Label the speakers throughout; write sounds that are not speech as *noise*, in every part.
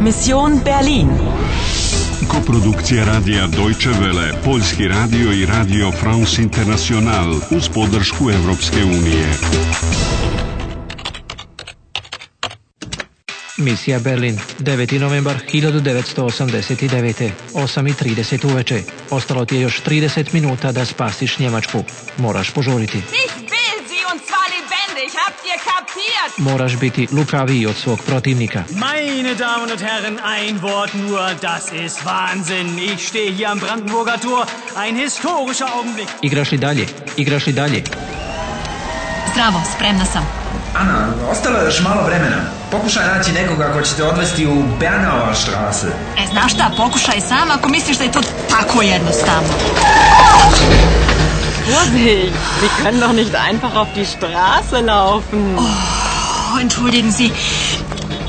Speaker 1: Mission Berlin.
Speaker 2: Koprodukcija radija Deutsche Welle, Poljski radio i radio France International uz podršku Europske unije.
Speaker 3: Misija Berlin, 9. novembar 1989. 8.30 uveče. Ostalo ti je još 30 minuta da spasiš Njemačku. Moraš požuriti.
Speaker 4: Ich will sie und zwar lebendig. Habt ihr kapiert?
Speaker 3: Moraš biti lukaviji od svog protivnika.
Speaker 5: Meine Damen und Herren, ein Wort nur, das ist Wahnsinn. Ich stehe hier am Brandenburger Tor. Ein historischer Augenblick.
Speaker 3: Igraš li dalje? Igraš li dalje?
Speaker 6: Zdravo, spremna sam.
Speaker 7: Ana, ostalo je još malo vremena. Pokušaj naći nekoga ko će te odvesti u Bernauer Straße.
Speaker 6: E, znaš šta, pokušaj sam ako misliš da je to tako jednostavno.
Speaker 8: Vorsicht, Sie können doch nicht einfach auf die Straße laufen.
Speaker 6: Oh, entschuldigen Sie.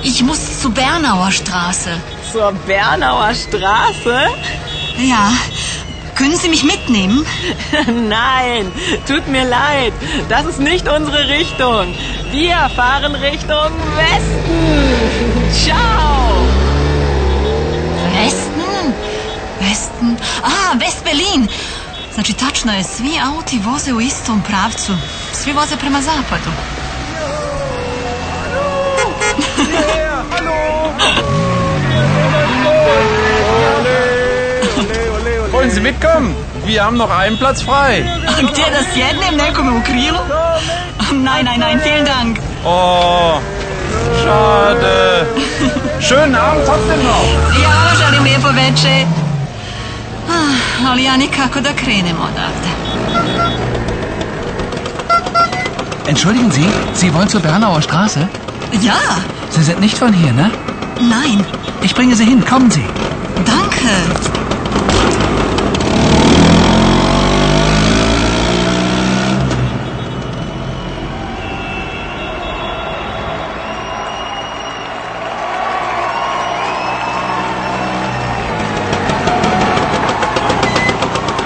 Speaker 6: Ich muss zu Bernauer Straße.
Speaker 8: Zur Bernauer Straße? *laughs*
Speaker 6: Ja. Können Sie mich mitnehmen?
Speaker 8: Nein, tut mir leid. Das ist nicht unsere Richtung. Wir fahren Richtung Westen. Ciao.
Speaker 6: Westen? Westen? A, West Berlin. Znači, tačno je, svi auti voze u istom pravcu. Svi voze prema zapadu.
Speaker 9: Wollen Sie mitkommen? Wir haben noch einen Platz frei.
Speaker 6: A Gdje da sjednem nekome u krilu? Nein, nein, nein, vielen Dank.
Speaker 9: Oh, schade. Schönen Abend trotzdem noch.
Speaker 6: Ja, želim lijepo veče. Ah, ali ja nikako da krenem odavde.
Speaker 10: Entschuldigen Sie, Sie wollen zur Bernauer Straße?
Speaker 6: Ja,
Speaker 10: Sie sind nicht von hier, ne?
Speaker 6: nein,
Speaker 10: Ich bringe Sie hin, kommen Sie.
Speaker 6: danke.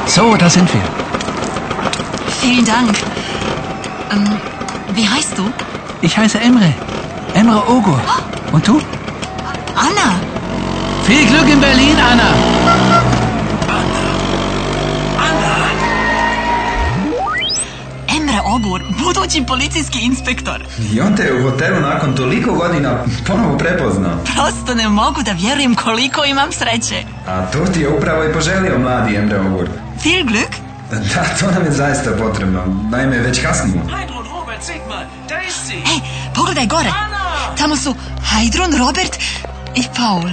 Speaker 10: So, da sind wir.
Speaker 6: Vielen Dank. Ähm, wie heißt du?
Speaker 10: Ich heiße Emre. Emre Ogur. Und du?
Speaker 6: Anna.
Speaker 10: Viel Glück in Berlin, Anna.
Speaker 6: Emre Ogur, budući policijski inspektor.
Speaker 7: I on te je u hotelu nakon toliko godina ponovo prepoznao.
Speaker 6: Prosto ne mogu da vjerujem koliko imam sreće.
Speaker 7: A to ti je upravo i poželio mladi Emre Ogur.
Speaker 6: Viel Glück.
Speaker 7: Da, to nam je zaista potrebno. Naime, već kasnimo.
Speaker 5: Heidrun, Robert, seht mal, da ist sie.
Speaker 6: Ej, E, pogledaj gore. Tamo su Heidrun, Robert i Paul.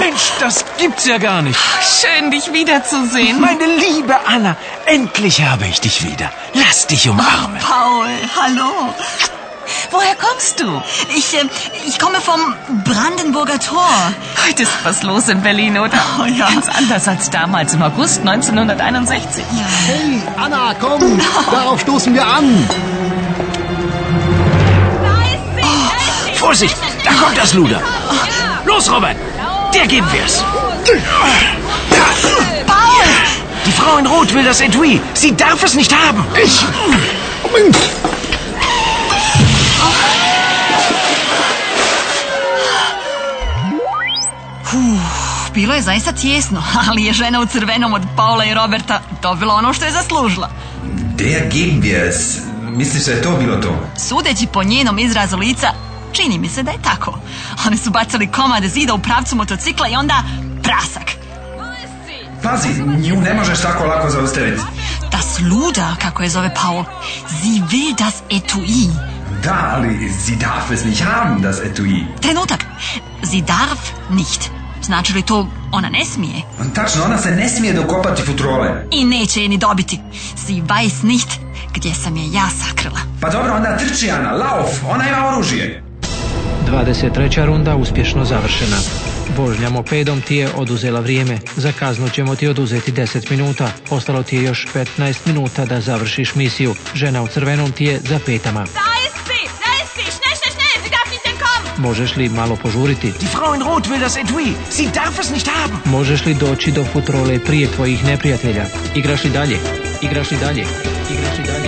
Speaker 11: Mensch, das gibt's ja gar nicht.
Speaker 8: Schön, dich wiederzusehen.
Speaker 11: Meine liebe Anna, endlich habe ich dich wieder. Lass dich umarmen.
Speaker 6: Paul, hallo.
Speaker 8: Woher kommst du?
Speaker 6: Ich, äh, ich komme vom Brandenburger Tor.
Speaker 8: Heute ist was los in Berlin, oder?
Speaker 6: Oh ja.
Speaker 8: Ganz anders als damals im August 1961.
Speaker 9: Anna, komm,
Speaker 11: Oh.
Speaker 9: darauf stoßen wir an.
Speaker 11: Oh, Vorsicht, da kommt das Luder. Los, Robert, dir geben wir's.
Speaker 6: Paul!
Speaker 11: Die Frau in Rot will das Etui. Sie darf es nicht haben. Ich.
Speaker 6: Puh, bilo je zaista tijesno, *laughs* ali je žena u crvenom od Paula i Roberta dobila ono što je zaslužila.
Speaker 7: Der ging wir's. Misliš da je to bilo to?
Speaker 6: Sudeći po njenom izrazu lica, čini mi se da je tako. Oni su bacali komade zida u pravcu motocikla i onda prasak.
Speaker 7: Pazi, nju ne možeš tako lako zaustaviti.
Speaker 6: Das Luda, kako je zove Paul, sie will das Etui.
Speaker 7: Da, ali sie darf es nicht haben, das etui.
Speaker 6: Trenutak, sie darf nicht. Znači li to ona ne smije?
Speaker 7: Tačno, ona se ne smije dokopati futrole.
Speaker 6: I neće je ni dobiti. Sie weiß nicht, gdje sam je ja sakrila.
Speaker 7: Pa dobro, onda trči Ana, lauf, ona ima oružje.
Speaker 3: 23. runda uspješno završena. Vožnja mopedom ti je oduzela vrijeme. Za kaznu ćemo ti oduzeti 10 minuta. Ostalo ti je još 15 minuta da završiš misiju. Žena u crvenom ti je za petama.
Speaker 4: Da ist sie! Da ist sie! Schnell, schnell, schnell! Sie darf nicht entkommen!
Speaker 3: Možeš li malo požuriti?
Speaker 11: Die Frau in Rot will das Etui. Sie darf es nicht haben.
Speaker 3: Možeš li doći do futrole prije tvojih neprijatelja? Igraš li dalje? Igraš li dalje? Igraš li dalje?